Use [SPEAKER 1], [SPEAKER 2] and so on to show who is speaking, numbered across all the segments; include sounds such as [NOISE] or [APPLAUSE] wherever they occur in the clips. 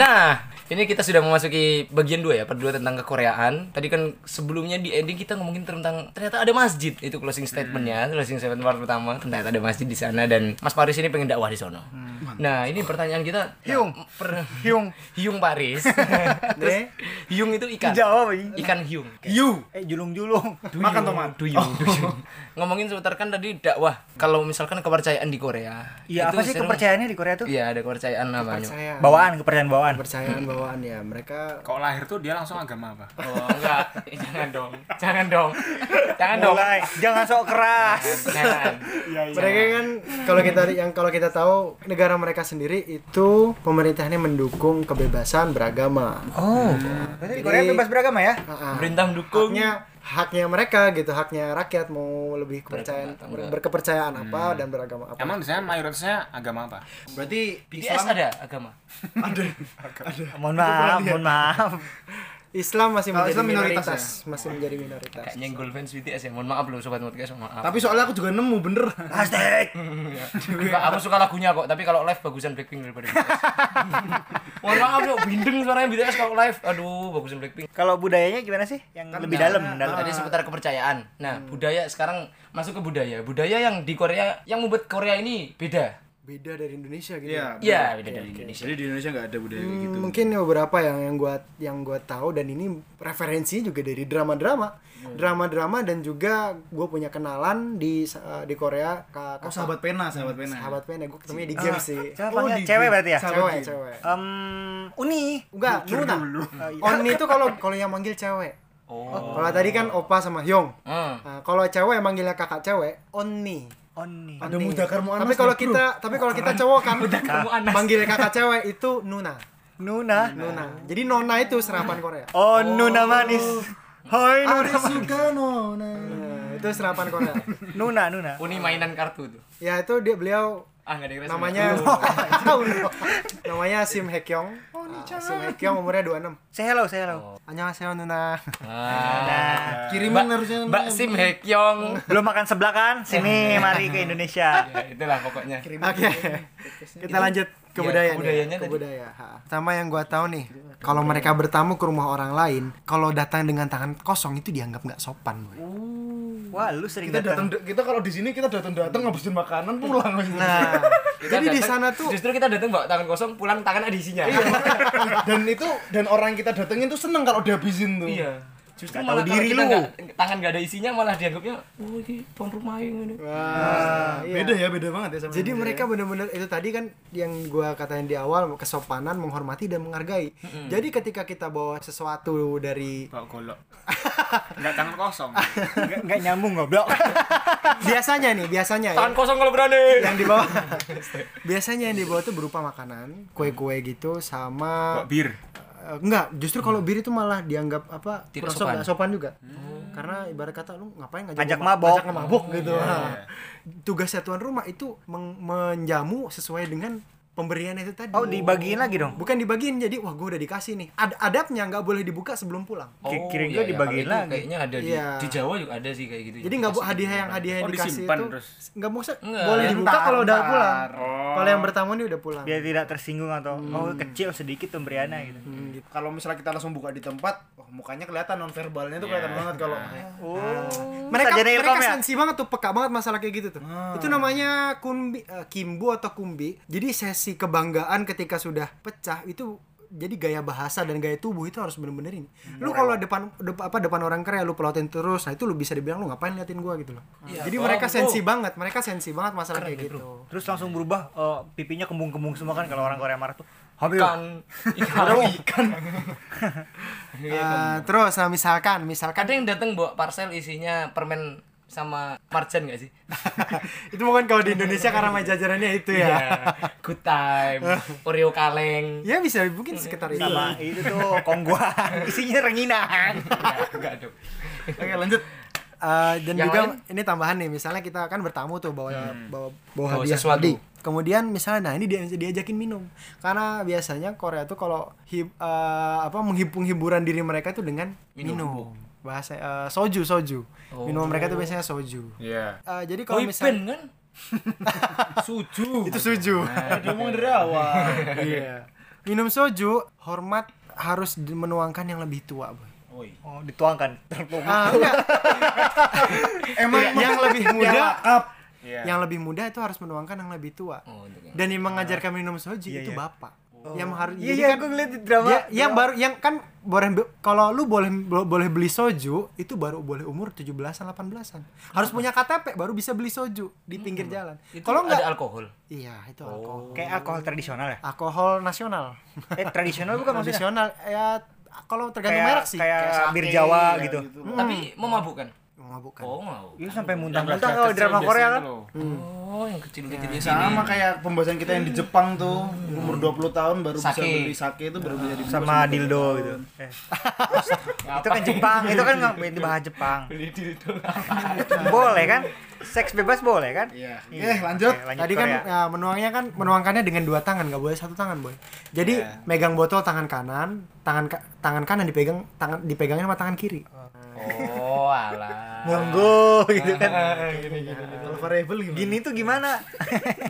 [SPEAKER 1] Nah, ini kita sudah memasuki bagian dua ya, part dua tentang kekoreaan. Tadi kan sebelumnya di ending kita ngomongin tentang ternyata ada masjid. Itu closing statementnya,
[SPEAKER 2] Hmm.
[SPEAKER 1] closing statement part pertama. Ternyata ada masjid di sana dan Mas Paris ini pengen dakwah di sono.
[SPEAKER 2] Hmm.
[SPEAKER 1] Nah, ini pertanyaan kita.
[SPEAKER 2] Hiung.
[SPEAKER 1] Nah, per-
[SPEAKER 2] Hiung.
[SPEAKER 1] hiung Paris.
[SPEAKER 2] [LAUGHS]
[SPEAKER 1] Terus
[SPEAKER 2] Deh.
[SPEAKER 1] hiung itu ikan.
[SPEAKER 2] Jawab, iya.
[SPEAKER 1] Ikan hiung.
[SPEAKER 2] You. Eh julung-julung. Makan tomat.
[SPEAKER 1] Duyung, duyung. Ngomongin seputar kan tadi dakwah. Kalau misalkan kepercayaan di Korea.
[SPEAKER 2] Iya,
[SPEAKER 1] itu
[SPEAKER 2] apa sih
[SPEAKER 1] sering-
[SPEAKER 2] kepercayaannya di Korea tuh?
[SPEAKER 1] Iya, ada kepercayaan namanya.
[SPEAKER 3] percayaan
[SPEAKER 2] Bawaan, kepercayaan bawaan.
[SPEAKER 3] percayaan bawaan ya mereka
[SPEAKER 4] Kalau lahir tuh dia langsung agama apa?
[SPEAKER 1] Oh enggak, jangan dong, jangan dong, jangan dong, Nah,
[SPEAKER 2] Mulai. Jangan sok keras.
[SPEAKER 1] jangan.
[SPEAKER 3] mereka kan kalau kita yang kalau kita tahu negara mereka sendiri itu pemerintahnya mendukung kebebasan beragama
[SPEAKER 2] Oh. Berarti di Korea
[SPEAKER 3] Jadi-
[SPEAKER 2] bebas beragama ya?
[SPEAKER 3] Ah, ah.
[SPEAKER 1] Pemerintah mendukung.
[SPEAKER 3] haknya haknya mereka gitu haknya rakyat mau lebih kepercayaan ber- berkepercayaan apa dan beragama apa
[SPEAKER 4] Emang di sana mayoritasnya agama apa?
[SPEAKER 5] Berarti
[SPEAKER 1] BTS ada agama.
[SPEAKER 2] Ah, Mohon maaf, mohon maaf.
[SPEAKER 3] Islam masih
[SPEAKER 5] Kalau
[SPEAKER 3] menjadi
[SPEAKER 5] Islam minoritas
[SPEAKER 3] minoritas, masih menjadi minoritas
[SPEAKER 1] Kayak nyenggol fans BTS ya. Mohon maaf loh sobat podcast, mohon maaf.
[SPEAKER 5] tapi soalnya aku juga nemu bener.
[SPEAKER 2] Hashtag.
[SPEAKER 1] Enggak, aku suka lagunya kok, tapi kalau live bagusan Blackpink daripada BTS. [LAUGHS] mohon maaf loh, bindeng suaranya BTS kalau live. Aduh, bagusan Blackpink.
[SPEAKER 2] Kalau budayanya gimana sih? Yang
[SPEAKER 5] Kan
[SPEAKER 2] lebih
[SPEAKER 5] nggak-
[SPEAKER 2] dalam, dalam.
[SPEAKER 1] Tadi seputar kepercayaan. Nah, budaya sekarang masuk ke budaya. Budaya yang di Korea yang membuat Korea ini beda.
[SPEAKER 3] beda dari Indonesia gitu
[SPEAKER 5] Iya.
[SPEAKER 1] Iya, beda dari Indonesia.
[SPEAKER 5] Jadi di Indonesia nggak ada budaya kayak
[SPEAKER 3] Hmm,
[SPEAKER 5] gitu.
[SPEAKER 3] mungkin beberapa yang yang gua yang gua tahu dan ini referensinya juga dari drama-drama
[SPEAKER 5] Iya.
[SPEAKER 3] drama-drama dan juga gue punya kenalan di sa- eh, di Korea kak
[SPEAKER 5] Oh, sahabat pena, sahabat pena.
[SPEAKER 3] sahabat pena gue ketemunya di game sih
[SPEAKER 2] Siapa
[SPEAKER 5] Oh,
[SPEAKER 2] panggil?
[SPEAKER 5] di-
[SPEAKER 2] Cewek berarti ya?
[SPEAKER 5] Sahabat
[SPEAKER 3] cewek
[SPEAKER 5] game.
[SPEAKER 3] cewek
[SPEAKER 2] Um, uni.
[SPEAKER 3] enggak Nuna
[SPEAKER 5] Oh, iya.
[SPEAKER 3] Oni itu kalau kalau yang manggil cewek
[SPEAKER 1] Oh.
[SPEAKER 3] kalau tadi kan opa sama Hyung
[SPEAKER 1] Hmm.
[SPEAKER 3] Nah, kalau cewek yang manggilnya kakak cewek Oni
[SPEAKER 2] Oni.
[SPEAKER 5] Ada
[SPEAKER 3] Oni.
[SPEAKER 5] mudakar muannas
[SPEAKER 3] tapi kalau
[SPEAKER 5] nih, bro.
[SPEAKER 3] kita tapi kalau kita cowok kan
[SPEAKER 1] muannas.
[SPEAKER 3] manggilnya kakak cewek itu Nuna
[SPEAKER 2] Nuna.
[SPEAKER 3] Nuna jadi Nona itu serapan Korea
[SPEAKER 2] Oh, Nuna manis. Hai Nuna.
[SPEAKER 5] Ari Sugano, nah.
[SPEAKER 3] Nah, itu serapan Korea.
[SPEAKER 2] Nuna, Nuna.
[SPEAKER 1] Uni mainan kartu tuh.
[SPEAKER 3] [LAUGHS] ya itu dia beliau
[SPEAKER 1] Ah, enggak ada yang resmi.
[SPEAKER 3] namanya
[SPEAKER 1] Oh.
[SPEAKER 3] [LAUGHS] Uno. namanya Sim Hekyong. Sim Hekyong umurnya 26.
[SPEAKER 2] Say hello, say
[SPEAKER 3] Oh.
[SPEAKER 2] hello.
[SPEAKER 3] Annyeonghaseyo Nuna. Nah,
[SPEAKER 1] Ah.
[SPEAKER 5] Kirimin
[SPEAKER 1] Mbak,
[SPEAKER 5] harusnya
[SPEAKER 1] Mbak Sim Hekyong.
[SPEAKER 2] Belum makan sebelah kan? Sini, mari ke Indonesia.
[SPEAKER 1] ya, itulah pokoknya.
[SPEAKER 3] [LAUGHS] Oke. Kita lanjut ke
[SPEAKER 1] Iya,
[SPEAKER 3] budaya. nih.
[SPEAKER 1] kebudayanya
[SPEAKER 3] Ke
[SPEAKER 1] tadi.
[SPEAKER 3] budaya. ha. Pertama yang gua tahu nih, kalau mereka bertamu ke rumah orang lain, kalau datang dengan tangan kosong itu dianggap nggak sopan. Boy.
[SPEAKER 2] Wah, lu sering
[SPEAKER 5] Kita datang
[SPEAKER 2] datang.
[SPEAKER 5] kita kalau di sini kita datang-datang ngabisin makanan pulang.
[SPEAKER 3] Nah,
[SPEAKER 1] Kita
[SPEAKER 3] jadi di
[SPEAKER 1] datang-
[SPEAKER 3] sana tuh
[SPEAKER 1] justru kita datang bawa tangan kosong, pulang tangan ada isinya.
[SPEAKER 5] Iya, makanya. [LAUGHS] dan itu dan orang yang kita datengin tuh seneng kalau dihabisin tuh.
[SPEAKER 1] Iya. Justru
[SPEAKER 2] Nggak
[SPEAKER 1] malah
[SPEAKER 2] tahu
[SPEAKER 1] kalau
[SPEAKER 2] diri
[SPEAKER 1] kita
[SPEAKER 2] lu.
[SPEAKER 1] nggak- tangan gak ada isinya malah dianggapnya, oh ini tuan rumah yang ini.
[SPEAKER 3] Wah, iya.
[SPEAKER 5] Beda ya, beda banget ya sama
[SPEAKER 3] [LAUGHS] Jadi
[SPEAKER 5] Indonesia
[SPEAKER 3] mereka
[SPEAKER 5] ya.
[SPEAKER 3] benar-benar itu tadi kan yang gua katain di awal kesopanan, menghormati dan menghargai. Jadi ketika kita bawa sesuatu dari
[SPEAKER 4] Bawa [LAUGHS] golok. Enggak tangan [LAUGHS] kosong.
[SPEAKER 2] Nggak nggak nyambung goblok.
[SPEAKER 3] biasanya nih, biasanya ya.
[SPEAKER 1] Tangan kosong kalau berani.
[SPEAKER 3] yang dibawa biasanya yang dibawa tuh berupa makanan, kue-kue gitu sama
[SPEAKER 4] Bawa bir.
[SPEAKER 3] Eh, enggak, justru kalau bir itu malah dianggap apa?
[SPEAKER 1] Tidak
[SPEAKER 3] Tidak
[SPEAKER 1] sopan.
[SPEAKER 3] sopan. sopan juga. Karena ibarat kata lu ngapain ngajak
[SPEAKER 2] Hmm. Ajak
[SPEAKER 3] gua ma-
[SPEAKER 2] mabok. Iya.
[SPEAKER 3] ajak mabok gitu. Nah, Tugasnya tuan rumah itu meng- menjamu sesuai dengan pemberian itu tadi.
[SPEAKER 2] Oh, dibagiin lagi dong.
[SPEAKER 3] bukan dibagiin jadi wah gue udah dikasih nih Ad adabnya nggak boleh dibuka sebelum pulang
[SPEAKER 2] Kirain
[SPEAKER 1] iya,
[SPEAKER 2] gua
[SPEAKER 1] iya,
[SPEAKER 2] dibagiin
[SPEAKER 1] kalau itu
[SPEAKER 2] lagi.
[SPEAKER 1] Kayaknya ada di,
[SPEAKER 3] Iya.
[SPEAKER 1] di Jawa juga ada sih kayak gitu.
[SPEAKER 3] jadi nggak bu hadiah yang hadiah yang
[SPEAKER 4] Oh,
[SPEAKER 3] dikasih
[SPEAKER 4] disimpan
[SPEAKER 3] itu
[SPEAKER 4] terus.
[SPEAKER 3] nggak mau se-
[SPEAKER 1] Nggak.
[SPEAKER 3] boleh dibuka
[SPEAKER 5] Ntar,
[SPEAKER 3] kalau udah
[SPEAKER 5] ntar.
[SPEAKER 3] pulang
[SPEAKER 4] Oh.
[SPEAKER 3] kalau yang bertamu ini udah pulang
[SPEAKER 2] biar tidak tersinggung atau oh kecil sedikit pemberiannya gitu.
[SPEAKER 3] Hmm.
[SPEAKER 5] Hmm, Kalau misalnya kita langsung buka di tempat, wah mukanya kelihatan nonverbalnya tuh kelihatan banget kalau
[SPEAKER 2] Oh.
[SPEAKER 3] mereka
[SPEAKER 2] Sarjana
[SPEAKER 3] mereka
[SPEAKER 2] Ilkom ya?
[SPEAKER 3] sensi banget tuh peka banget masalah kayak gitu tuh itu namanya kumbi eh, kimbu atau kumbi jadi sesi kebanggaan ketika sudah pecah itu jadi gaya bahasa dan gaya tubuh itu harus bener-bener ini lu kalau depan dep- apa depan orang keren lu pelotin terus nah itu lu bisa dibilang lu ngapain liatin gua gitu loh
[SPEAKER 1] Iya,
[SPEAKER 3] jadi
[SPEAKER 1] bro,
[SPEAKER 3] mereka
[SPEAKER 1] bro.
[SPEAKER 3] sensi banget mereka sensi banget masalah
[SPEAKER 1] Keren
[SPEAKER 3] kayak
[SPEAKER 1] nih,
[SPEAKER 3] gitu
[SPEAKER 2] Terus langsung berubah eh, pipinya kembung-kembung semua kan kalau orang Korea marah tuh. Kan. Habis.
[SPEAKER 1] Ikan. Ikan.
[SPEAKER 3] Eh, terus nah misalkan misalkan
[SPEAKER 1] Kadang yang datang bawa parcel isinya permen sama marjan gak sih?
[SPEAKER 3] [LAUGHS] itu bukan kalau di Indonesia karena sama jajarannya itu ya
[SPEAKER 1] Nah, Good time. Oreo kaleng.
[SPEAKER 3] ya bisa mungkin sekitar itu
[SPEAKER 2] Sama Nah, itu tuh kongguan. [LAUGHS] Isinya renginan.
[SPEAKER 1] Enggak, enggak dong.
[SPEAKER 5] Oke, lanjut.
[SPEAKER 3] Eh, dan
[SPEAKER 1] Yang
[SPEAKER 3] juga
[SPEAKER 1] lain?
[SPEAKER 3] ini tambahan nih misalnya kita kan bertamu tuh bawa bawa, bawa
[SPEAKER 1] Bawa
[SPEAKER 3] hadiah
[SPEAKER 1] sesuatu.
[SPEAKER 3] tadi. kemudian misalnya nah ini dia diajakin minum karena biasanya Korea tuh kalau hi- eh, apa menghibung hiburan diri mereka tuh dengan minum, bahasa eh, soju soju minum mereka tuh biasanya soju
[SPEAKER 4] Iya.
[SPEAKER 3] Eh, jadi kalau
[SPEAKER 1] Boy band
[SPEAKER 3] misalnya
[SPEAKER 1] kan?
[SPEAKER 5] Suju.
[SPEAKER 3] [LAUGHS] itu soju
[SPEAKER 5] Ngomong dari awal.
[SPEAKER 3] [LAUGHS] iya minum soju hormat harus di- menuangkan yang lebih tua boy
[SPEAKER 5] Woi.
[SPEAKER 2] Oh, dituangkan. Terpeluk.
[SPEAKER 3] ah enggak [LAUGHS]
[SPEAKER 5] Emang
[SPEAKER 3] yang lebih
[SPEAKER 5] yang
[SPEAKER 3] muda
[SPEAKER 5] lakap.
[SPEAKER 4] Iya.
[SPEAKER 3] yang lebih muda itu harus menuangkan yang lebih tua
[SPEAKER 1] Oh, untuk yang-
[SPEAKER 3] dan yang mengajarkan minum soju
[SPEAKER 2] Iya,
[SPEAKER 3] itu
[SPEAKER 2] iya.
[SPEAKER 3] bapak yang harus
[SPEAKER 2] Iya,
[SPEAKER 3] jadi
[SPEAKER 2] iya,
[SPEAKER 3] kan-
[SPEAKER 2] gua ngeliat di drama.
[SPEAKER 3] Ya, yang baru yang kan boleh be- kalau lu boleh bo- boleh beli soju itu baru boleh umur 17-an 18-an. Harus punya KTP baru bisa beli soju di pinggir jalan.
[SPEAKER 1] Itu
[SPEAKER 3] Kalau
[SPEAKER 1] ada
[SPEAKER 3] enggak
[SPEAKER 1] alkohol.
[SPEAKER 3] Iya, itu alkohol.
[SPEAKER 2] Kayak alkohol tradisional ya?
[SPEAKER 3] Alkohol nasional.
[SPEAKER 2] Eh, tradisional bukan maksudnya?
[SPEAKER 3] Tradisional ya kalau tergantung
[SPEAKER 2] Kayak-
[SPEAKER 3] merek sih.
[SPEAKER 2] kayak-
[SPEAKER 5] sake,
[SPEAKER 2] bir Jawa
[SPEAKER 5] ya
[SPEAKER 2] gitu.
[SPEAKER 5] loh.
[SPEAKER 1] Tapi memabukkan.
[SPEAKER 3] Mabuk Hmm. kan.
[SPEAKER 1] Oh, mau.
[SPEAKER 2] Itu sampai
[SPEAKER 4] Yang
[SPEAKER 2] muntah-muntah
[SPEAKER 4] gelas-gelas
[SPEAKER 2] kalau drama
[SPEAKER 4] kecil
[SPEAKER 2] Korea
[SPEAKER 4] biasanya
[SPEAKER 2] kan.
[SPEAKER 4] tuh loh.
[SPEAKER 1] Oh, yang
[SPEAKER 3] Ya.
[SPEAKER 1] kecil-kecil di sini.
[SPEAKER 5] Sama kayak pembahasan kita yang di Jepang tuh, umur 20 tahun baru bisa
[SPEAKER 1] Sake.
[SPEAKER 5] beli sake itu baru bisa dibungkus
[SPEAKER 2] sama
[SPEAKER 5] umur
[SPEAKER 2] dildo
[SPEAKER 5] 20
[SPEAKER 2] gitu.
[SPEAKER 5] tahun.
[SPEAKER 2] Eh. itu kan Jepang, itu kan nggak itu bahasa Jepang. boleh kan? Seks bebas boleh kan?
[SPEAKER 5] Iya. Oke, lanjut.
[SPEAKER 2] Oke, lanjut
[SPEAKER 3] Tadi kan
[SPEAKER 2] Korea.
[SPEAKER 3] ya, menuangnya kan menuangkannya dengan dua tangan, nggak boleh satu tangan, boy. Jadi
[SPEAKER 2] Iya.
[SPEAKER 3] megang botol tangan kanan, tangan ka- tangan kanan dipegang, tangan dipegangnya sama tangan kiri.
[SPEAKER 1] Oh, alah.
[SPEAKER 2] monggo [LAUGHS] gitu kan.
[SPEAKER 5] Kalau variable gimana?
[SPEAKER 2] Gini tuh gimana?
[SPEAKER 3] [LAUGHS]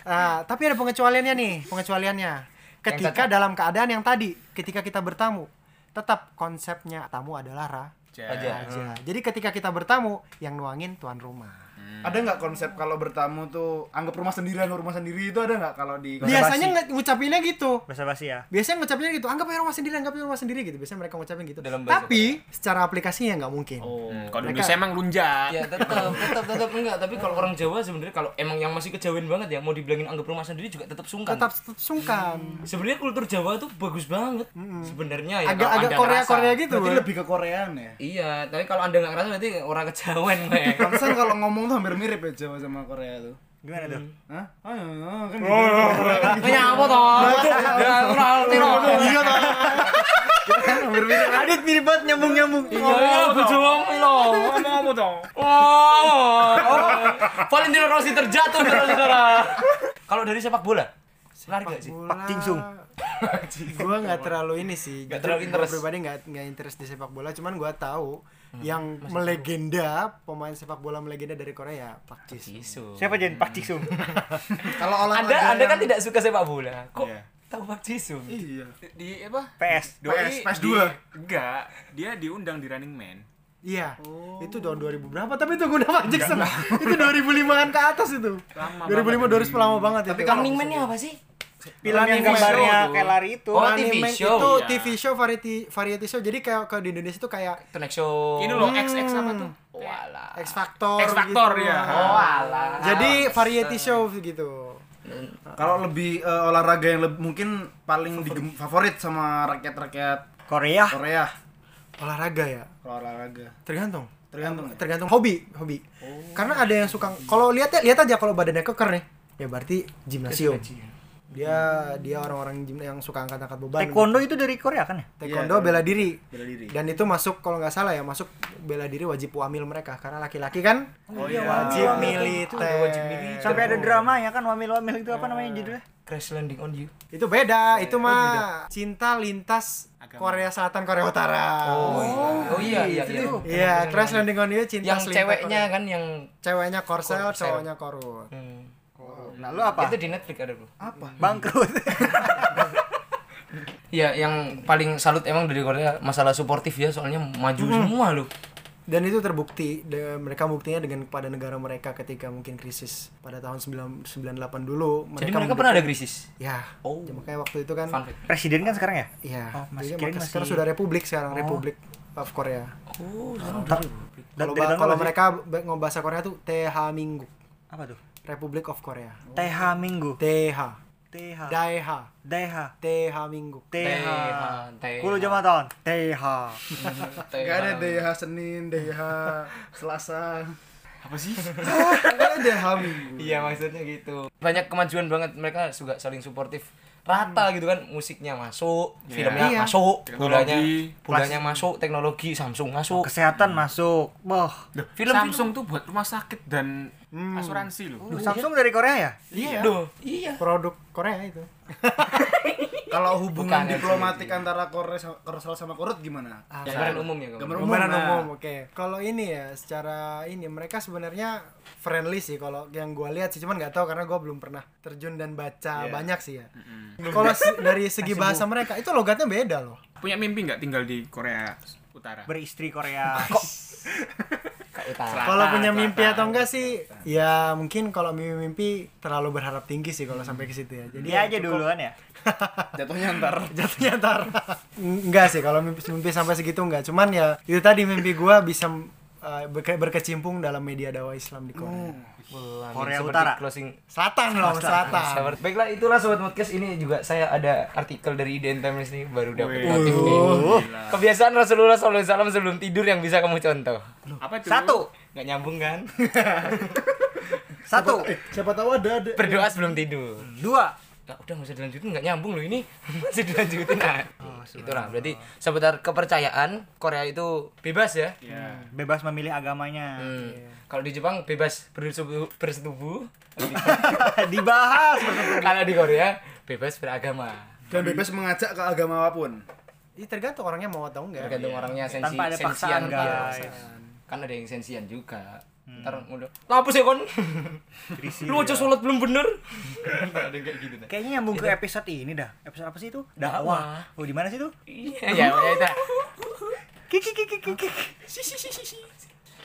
[SPEAKER 3] Ah, tapi ada pengecualiannya nih, pengecualiannya. Ketika dalam keadaan yang tadi, ketika kita bertamu, tetap konsepnya tamu adalah ra
[SPEAKER 1] Aja.
[SPEAKER 2] Ah.
[SPEAKER 3] raja. Jadi ketika kita bertamu, yang nuangin tuan rumah.
[SPEAKER 5] Ada nggak konsep kalau bertamu tuh anggap rumah sendirian rumah sendiri itu ada nggak kalau di
[SPEAKER 3] Biasanya nge- ngucapinnya gitu.
[SPEAKER 2] Bahasa basi ya.
[SPEAKER 3] Biasanya ngucapinnya gitu, anggap aja rumah sendiri, anggap aja rumah sendiri gitu. Biasanya mereka ngucapin gitu.
[SPEAKER 1] Dalam bahasa
[SPEAKER 3] tapi secara aplikasinya nggak mungkin.
[SPEAKER 4] Hmm, Iya, Kalau di
[SPEAKER 3] Mereka-
[SPEAKER 4] Indonesia emang lunjak.
[SPEAKER 1] Ya tetap, tetap, tetap enggak. Tapi kalau orang Jawa sebenarnya kalau emang yang masih kejawen banget ya mau dibilangin anggap rumah sendiri juga tetap sungkan.
[SPEAKER 3] Tetap sungkan.
[SPEAKER 1] Sebenarnya kultur Jawa tuh bagus banget.
[SPEAKER 3] Hmm.
[SPEAKER 1] Sebenarnya ya. kalau
[SPEAKER 3] Agak-agak
[SPEAKER 1] Anda
[SPEAKER 3] Korea-Korea
[SPEAKER 1] ngerasa.
[SPEAKER 3] gitu.
[SPEAKER 5] Berarti
[SPEAKER 3] Boy.
[SPEAKER 5] lebih ke Koreaan ya.
[SPEAKER 1] Iya, tapi kalau Anda nggak ngerasa berarti orang kejawen, Pak.
[SPEAKER 3] [LAUGHS]
[SPEAKER 5] Pantesan kalau ngomong tuh hampir mirip ya Jawa sama Korea tuh.
[SPEAKER 2] Gimana tuh?
[SPEAKER 3] Hmm.
[SPEAKER 5] Hah? Oh, iya, iya, kan gitu.
[SPEAKER 1] Ya apa toh? Ya kenal tiro.
[SPEAKER 3] Iya toh. Hampir mirip. Adit mirip banget nyambung-nyambung.
[SPEAKER 1] Ya aku Jawa lo.
[SPEAKER 4] Ngomong apa dong?
[SPEAKER 1] Oh. Valentino Rossi terjatuh saudara-saudara. Kalau dari sepak bola, lari nggak sih?
[SPEAKER 3] Pak
[SPEAKER 2] Jingsung.
[SPEAKER 3] gue nggak terlalu ini sih.
[SPEAKER 1] Nggak
[SPEAKER 3] Gak
[SPEAKER 1] terlalu interest.
[SPEAKER 3] pribadi nggak nggak interest di sepak bola. Cuman gue tahu yang melegenda pemain sepak bola melegenda dari Korea Pak Jis.
[SPEAKER 1] Isu.
[SPEAKER 2] Siapa jadi Pak Jiksung?
[SPEAKER 5] Kalau olahraga
[SPEAKER 1] Anda Anda kan
[SPEAKER 5] yang-
[SPEAKER 1] tidak suka sepak bola. Kok
[SPEAKER 4] Iya.
[SPEAKER 1] tahu Pak Jisung?
[SPEAKER 5] Iya.
[SPEAKER 1] Di apa?
[SPEAKER 2] PS.
[SPEAKER 5] PS,
[SPEAKER 4] Tapi
[SPEAKER 5] PS2.
[SPEAKER 4] di- Enggak, dia diundang di Running Man.
[SPEAKER 3] Iya. Itu tahun 2000 berapa? Tapi itu gue Pak Jackson. itu 2005-an ke atas itu.
[SPEAKER 4] Lama
[SPEAKER 3] 2005 2010 lama banget itu.
[SPEAKER 5] Tapi kalau-
[SPEAKER 1] Running Man-nya apa sih?
[SPEAKER 2] Film yang gambarnya kayak lari itu.
[SPEAKER 1] Oh,
[SPEAKER 3] Running
[SPEAKER 1] TV
[SPEAKER 3] Man
[SPEAKER 1] show.
[SPEAKER 3] itu
[SPEAKER 4] Iya.
[SPEAKER 3] TV show variety variety show. Jadi kayak kalau di Indonesia itu kayak
[SPEAKER 1] Connect Show. Oh,
[SPEAKER 4] Ini loh XX apa tuh?
[SPEAKER 1] Walah.
[SPEAKER 3] X Factor
[SPEAKER 4] X Factor,
[SPEAKER 3] gitu.
[SPEAKER 4] ya.
[SPEAKER 1] Oh, Walah.
[SPEAKER 3] Jadi variety show gitu.
[SPEAKER 5] Kalau lebih eh, olahraga yang leb- mungkin paling digem- favorit sama rakyat-rakyat
[SPEAKER 2] Korea.
[SPEAKER 5] Korea
[SPEAKER 3] Olahraga ya.
[SPEAKER 5] kalau olahraga.
[SPEAKER 3] Tergantung.
[SPEAKER 5] Tergantung ya?
[SPEAKER 3] Tergantung hobi, hobi. Karena ada yang suka kalau lihat ya- lihat aja kalau badannya keker nih. Ya berarti gimnasium. Dia dia orang-orang gym yang suka angkat-angkat beban.
[SPEAKER 2] Taekwondo Eh, itu dari Korea kan ya?
[SPEAKER 3] Taekwondo bela diri.
[SPEAKER 5] Bela diri.
[SPEAKER 3] Dan itu masuk kalau nggak salah ya masuk bela diri wajib wamil mereka karena laki-laki kan
[SPEAKER 5] Oh iya.
[SPEAKER 3] wajib militer.
[SPEAKER 2] Sampai ada dramanya kan wamil-wamil itu apa namanya judulnya?
[SPEAKER 1] Crash Landing on You.
[SPEAKER 3] Itu beda, itu mah cinta lintas Korea Selatan Korea Utara.
[SPEAKER 1] Oh, iya iya iya.
[SPEAKER 3] Iya, Crash Landing on You cinta
[SPEAKER 1] Yang
[SPEAKER 3] selintas
[SPEAKER 1] ceweknya
[SPEAKER 3] Korea.
[SPEAKER 1] kan yang
[SPEAKER 3] ceweknya Korsel,
[SPEAKER 1] Korsel.
[SPEAKER 3] cowoknya Korut.
[SPEAKER 1] hmm.
[SPEAKER 2] Nah, lu apa? Ah.
[SPEAKER 1] Itu di Netflix ada, Bro.
[SPEAKER 2] [LAUGHS] Bangkrut.
[SPEAKER 1] Iya, yang paling salut emang dari Korea masalah suportif ya, soalnya maju semua loh.
[SPEAKER 3] Dan itu terbukti de- mereka buktinya dengan kepada negara mereka ketika mungkin krisis pada tahun 9- 98 dulu
[SPEAKER 1] Jadi mereka pernah ada krisis.
[SPEAKER 3] ya.
[SPEAKER 1] Oh.
[SPEAKER 3] Ya, makanya waktu itu kan
[SPEAKER 1] Fun fact.
[SPEAKER 2] Presiden kan sekarang ya?
[SPEAKER 3] ya.
[SPEAKER 2] Oh, masih
[SPEAKER 3] jadi
[SPEAKER 2] kirain
[SPEAKER 3] makanya sekarang
[SPEAKER 2] masih-
[SPEAKER 3] sudah republik sekarang Republik of Korea.
[SPEAKER 1] Oh, sekarang udah.
[SPEAKER 2] Ta-
[SPEAKER 3] Kalau
[SPEAKER 2] dari
[SPEAKER 3] ba-
[SPEAKER 2] tahun berapa
[SPEAKER 3] kalau
[SPEAKER 2] sih?
[SPEAKER 3] mereka be- ngomong bahasa Korea tuh TH Minggu,
[SPEAKER 2] apa tuh?
[SPEAKER 3] Republic of Korea.
[SPEAKER 2] TH Minggu.
[SPEAKER 3] TH,
[SPEAKER 2] TH.
[SPEAKER 3] DAEH,
[SPEAKER 2] TH.
[SPEAKER 3] TH Minggu.
[SPEAKER 2] TH.
[SPEAKER 1] TH.
[SPEAKER 2] Eh, Kulo Jabatan. TH.
[SPEAKER 5] Gak ada DH Senin, DH Selasa.
[SPEAKER 4] Apa sih?
[SPEAKER 5] Gak ada Minggu.
[SPEAKER 1] Iya maksudnya gitu. Banyak kemajuan banget mereka juga saling suportif. Rata gitu kan musiknya masuk, filmnya
[SPEAKER 3] Iya.
[SPEAKER 1] masuk,
[SPEAKER 4] Teknologi.
[SPEAKER 1] bolanya bolanya masuk, teknologi Samsung masuk.
[SPEAKER 2] Kesehatan masuk. Boh.
[SPEAKER 1] Film-
[SPEAKER 4] Samsung tuh buat rumah sakit dan
[SPEAKER 2] Oh.
[SPEAKER 4] asuransi loh.
[SPEAKER 2] Samsung dari Korea ya?
[SPEAKER 1] Iya. Duh, iya.
[SPEAKER 3] Produk Korea itu.
[SPEAKER 5] Kalau hubungan
[SPEAKER 1] Bukan,
[SPEAKER 5] diplomatik antara Korea sama- Korea sama Korut gimana?
[SPEAKER 1] Gambaran umum ya gambaran.
[SPEAKER 5] Gambaran umum.
[SPEAKER 3] Gambaran
[SPEAKER 5] nah.
[SPEAKER 3] umum, oke. Kalau ini ya, secara ini mereka sebenarnya friendly sih kalau yang gua lihat sih, cuman nggak tahu karena gua belum pernah terjun dan baca
[SPEAKER 5] Iya.
[SPEAKER 3] banyak sih ya. Kalau se-
[SPEAKER 5] [LAUGHS]
[SPEAKER 3] dari segi bahasa mereka itu logatnya beda loh.
[SPEAKER 4] Punya mimpi nggak tinggal di Korea Utara?
[SPEAKER 2] beristri Korea
[SPEAKER 1] Kak
[SPEAKER 5] Ah,
[SPEAKER 1] Utara.
[SPEAKER 3] Kalau
[SPEAKER 4] Selatan,
[SPEAKER 3] punya mimpi
[SPEAKER 4] selatan,
[SPEAKER 3] atau enggak sih, ya mungkin kalau mimpi-mimpi terlalu berharap tinggi sih kalau sampai ke situ ya.
[SPEAKER 5] Iya.
[SPEAKER 3] Jadi
[SPEAKER 2] dia aja duluan ya
[SPEAKER 5] Jatuhnya antar
[SPEAKER 3] jatuhnya ntar [LAUGHS] enggak sih kalau mimpi, mimpi sampai segitu enggak cuman ya itu tadi mimpi gua bisa eh, berke- berkecimpung dalam media dakwah Islam di Korea
[SPEAKER 5] Hmm.
[SPEAKER 1] Pelan,
[SPEAKER 2] Korea
[SPEAKER 1] seperti
[SPEAKER 2] Utara.
[SPEAKER 1] Closing.
[SPEAKER 3] selatan loh selatan
[SPEAKER 1] Sahabat. Baiklah itulah sobat podcast ini juga saya ada artikel dari IDN Times nih baru dapat
[SPEAKER 4] Wih.
[SPEAKER 1] notif nih. Kebiasaan Rasulullah SAW sebelum tidur yang bisa kamu contoh.
[SPEAKER 4] Apa itu?
[SPEAKER 2] satu
[SPEAKER 1] Gak nyambung kan?
[SPEAKER 2] satu
[SPEAKER 3] Eh,
[SPEAKER 5] Siapa tahu ada ada.
[SPEAKER 1] [LAUGHS] Berdoa sebelum tidur.
[SPEAKER 2] dua
[SPEAKER 1] Nah, udah nggak usah dilanjutin nggak nyambung loh ini [LAUGHS] masih dilanjutin nah. Itulah berarti sebentar kepercayaan Korea itu bebas ya.
[SPEAKER 4] Ya.
[SPEAKER 2] bebas memilih agamanya
[SPEAKER 1] Hmm. Kalau di Jepang bebas bersetubuh, bersetubuh. [LAUGHS]
[SPEAKER 2] dibahas
[SPEAKER 1] Kalau di Korea bebas beragama.
[SPEAKER 5] Dan bebas mengajak ke agama apapun.
[SPEAKER 3] ini tergantung orangnya mau atau
[SPEAKER 1] Ya,
[SPEAKER 3] enggak
[SPEAKER 1] Tergantung orangnya sensi
[SPEAKER 2] iya. tanpa ada
[SPEAKER 1] sensian
[SPEAKER 2] paksaan
[SPEAKER 1] iya.
[SPEAKER 2] guys Hmm.
[SPEAKER 1] Kan ada yang sensian juga. Ntar udah, lapus ya kon. Lu
[SPEAKER 2] iya.
[SPEAKER 1] aja sholat belum bener. ada yang kayak gitu nah.
[SPEAKER 2] kayaknya nyambung ke episode ini dah episode apa sih itu dakwah oh di mana sih itu
[SPEAKER 1] Iya, ya itu.
[SPEAKER 2] kiki kiki kiki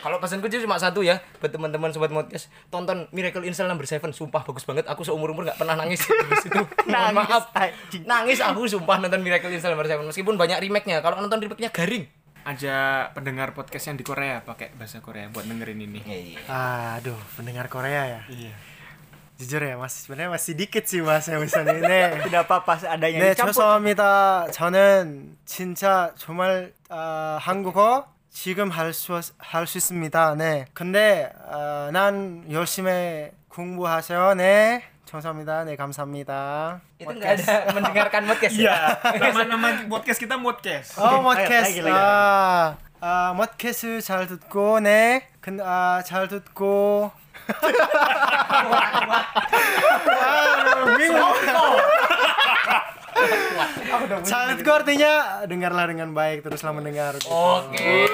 [SPEAKER 1] Kalau pesanku sih cuma satu ya buat teman-teman sobat podcast, tonton Miracle in Cell number 7, sumpah bagus banget. Aku seumur-umur nggak pernah
[SPEAKER 2] [LAUGHS]
[SPEAKER 1] nangis di situ. Mohon
[SPEAKER 2] Nangis,
[SPEAKER 1] maaf.
[SPEAKER 2] anjing.
[SPEAKER 1] Nangis aku sumpah nonton Miracle in Cell number 7 meskipun banyak remake-nya. Kalau nonton remake-nya garing.
[SPEAKER 4] Ada pendengar podcast yang di Korea pakai bahasa Korea buat dengerin ini.
[SPEAKER 1] Iya,
[SPEAKER 3] aduh pendengar Korea ya iya jujur ya mas sebenarnya masih dikit sih mas yang bisa [LAUGHS] ini
[SPEAKER 2] tidak apa-apa adanya
[SPEAKER 3] 네
[SPEAKER 2] dicampur
[SPEAKER 3] 죄송합니다 저는 진짜 정말 아, 한국어 지금 할수 할 수 있습니다 네 근데 아, 난 열심히 공부하세요 네 감사합니다 네 감사합니다
[SPEAKER 1] Itu nggak ada mendengarkan podcast
[SPEAKER 2] Iya,
[SPEAKER 1] ya.
[SPEAKER 4] Nama-nama podcast kita podcast.
[SPEAKER 3] 어
[SPEAKER 2] 아니, 아니,
[SPEAKER 3] 머캐스
[SPEAKER 2] 아니, 아니.
[SPEAKER 3] 아, 아 머캐스 잘 듣고 네 근, 아, 잘 듣고
[SPEAKER 2] 아,
[SPEAKER 3] 잘 듣고 artinya dengarlah dengan baik teruslah mendengar gitu.
[SPEAKER 2] 어,
[SPEAKER 1] Oke.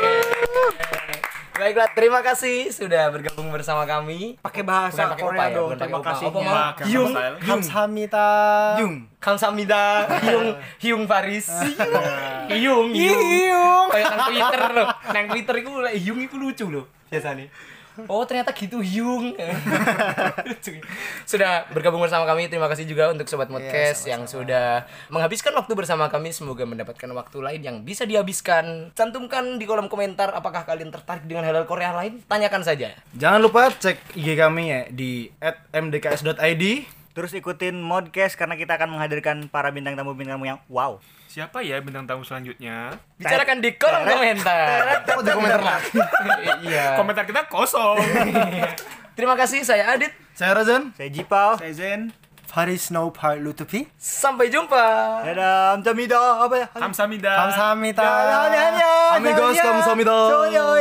[SPEAKER 1] Baiklah, terima kasih sudah bergabung bersama kami.
[SPEAKER 2] pakai
[SPEAKER 1] Bukan
[SPEAKER 2] bahasa
[SPEAKER 1] pakai opa
[SPEAKER 2] Korea
[SPEAKER 1] ya,
[SPEAKER 2] dong
[SPEAKER 1] bukan pakai
[SPEAKER 2] terima
[SPEAKER 1] opa.
[SPEAKER 2] kasih
[SPEAKER 1] Opa mau-
[SPEAKER 4] Yung.
[SPEAKER 3] 감사합니다
[SPEAKER 5] Yung.
[SPEAKER 1] Kamsamida, Hyung, Hyung Paris,
[SPEAKER 2] Ah.
[SPEAKER 1] Hyung, Hyung, kayak nang Twitter loh, nang Twitter itu mulai Hyung itu lucu loh biasanya. Oh ternyata gitu Hyung. Lucu. sudah bergabung bersama kami, terima kasih juga untuk
[SPEAKER 2] Iya,
[SPEAKER 1] sobat podcast yang sudah menghabiskan waktu bersama kami. Semoga mendapatkan waktu lain yang bisa dihabiskan. Cantumkan di kolom komentar apakah kalian tertarik dengan hal-hal Korea lain? Tanyakan saja.
[SPEAKER 5] Jangan lupa cek IG kami ya di @mdks.id.
[SPEAKER 2] terus ikutin modcast karena kita akan menghadirkan para bintang tamu bintang tamu yang wow
[SPEAKER 4] Siapa ya bintang tamu selanjutnya?
[SPEAKER 1] Bicarakan di kolom komentar.
[SPEAKER 5] Kok di komentar lagi?
[SPEAKER 1] Iya.
[SPEAKER 4] Komentar kita kosong.
[SPEAKER 1] Terima kasih saya Adit.
[SPEAKER 5] Saya Razan.
[SPEAKER 2] saya Jipal
[SPEAKER 5] Saya Zen.
[SPEAKER 3] 파리 스노우 파 루트피
[SPEAKER 1] Sampai jumpa.
[SPEAKER 2] dadah amcamida apa ya
[SPEAKER 4] Kamsamida.
[SPEAKER 2] 아,
[SPEAKER 3] 감사합니다
[SPEAKER 5] Amigos, kamsahamnida.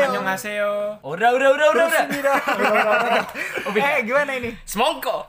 [SPEAKER 4] Annyeonghaseyo.
[SPEAKER 1] Udah, udah, udah, [LAUGHS] udah, udah.
[SPEAKER 2] eh gimana ini
[SPEAKER 1] Semongko.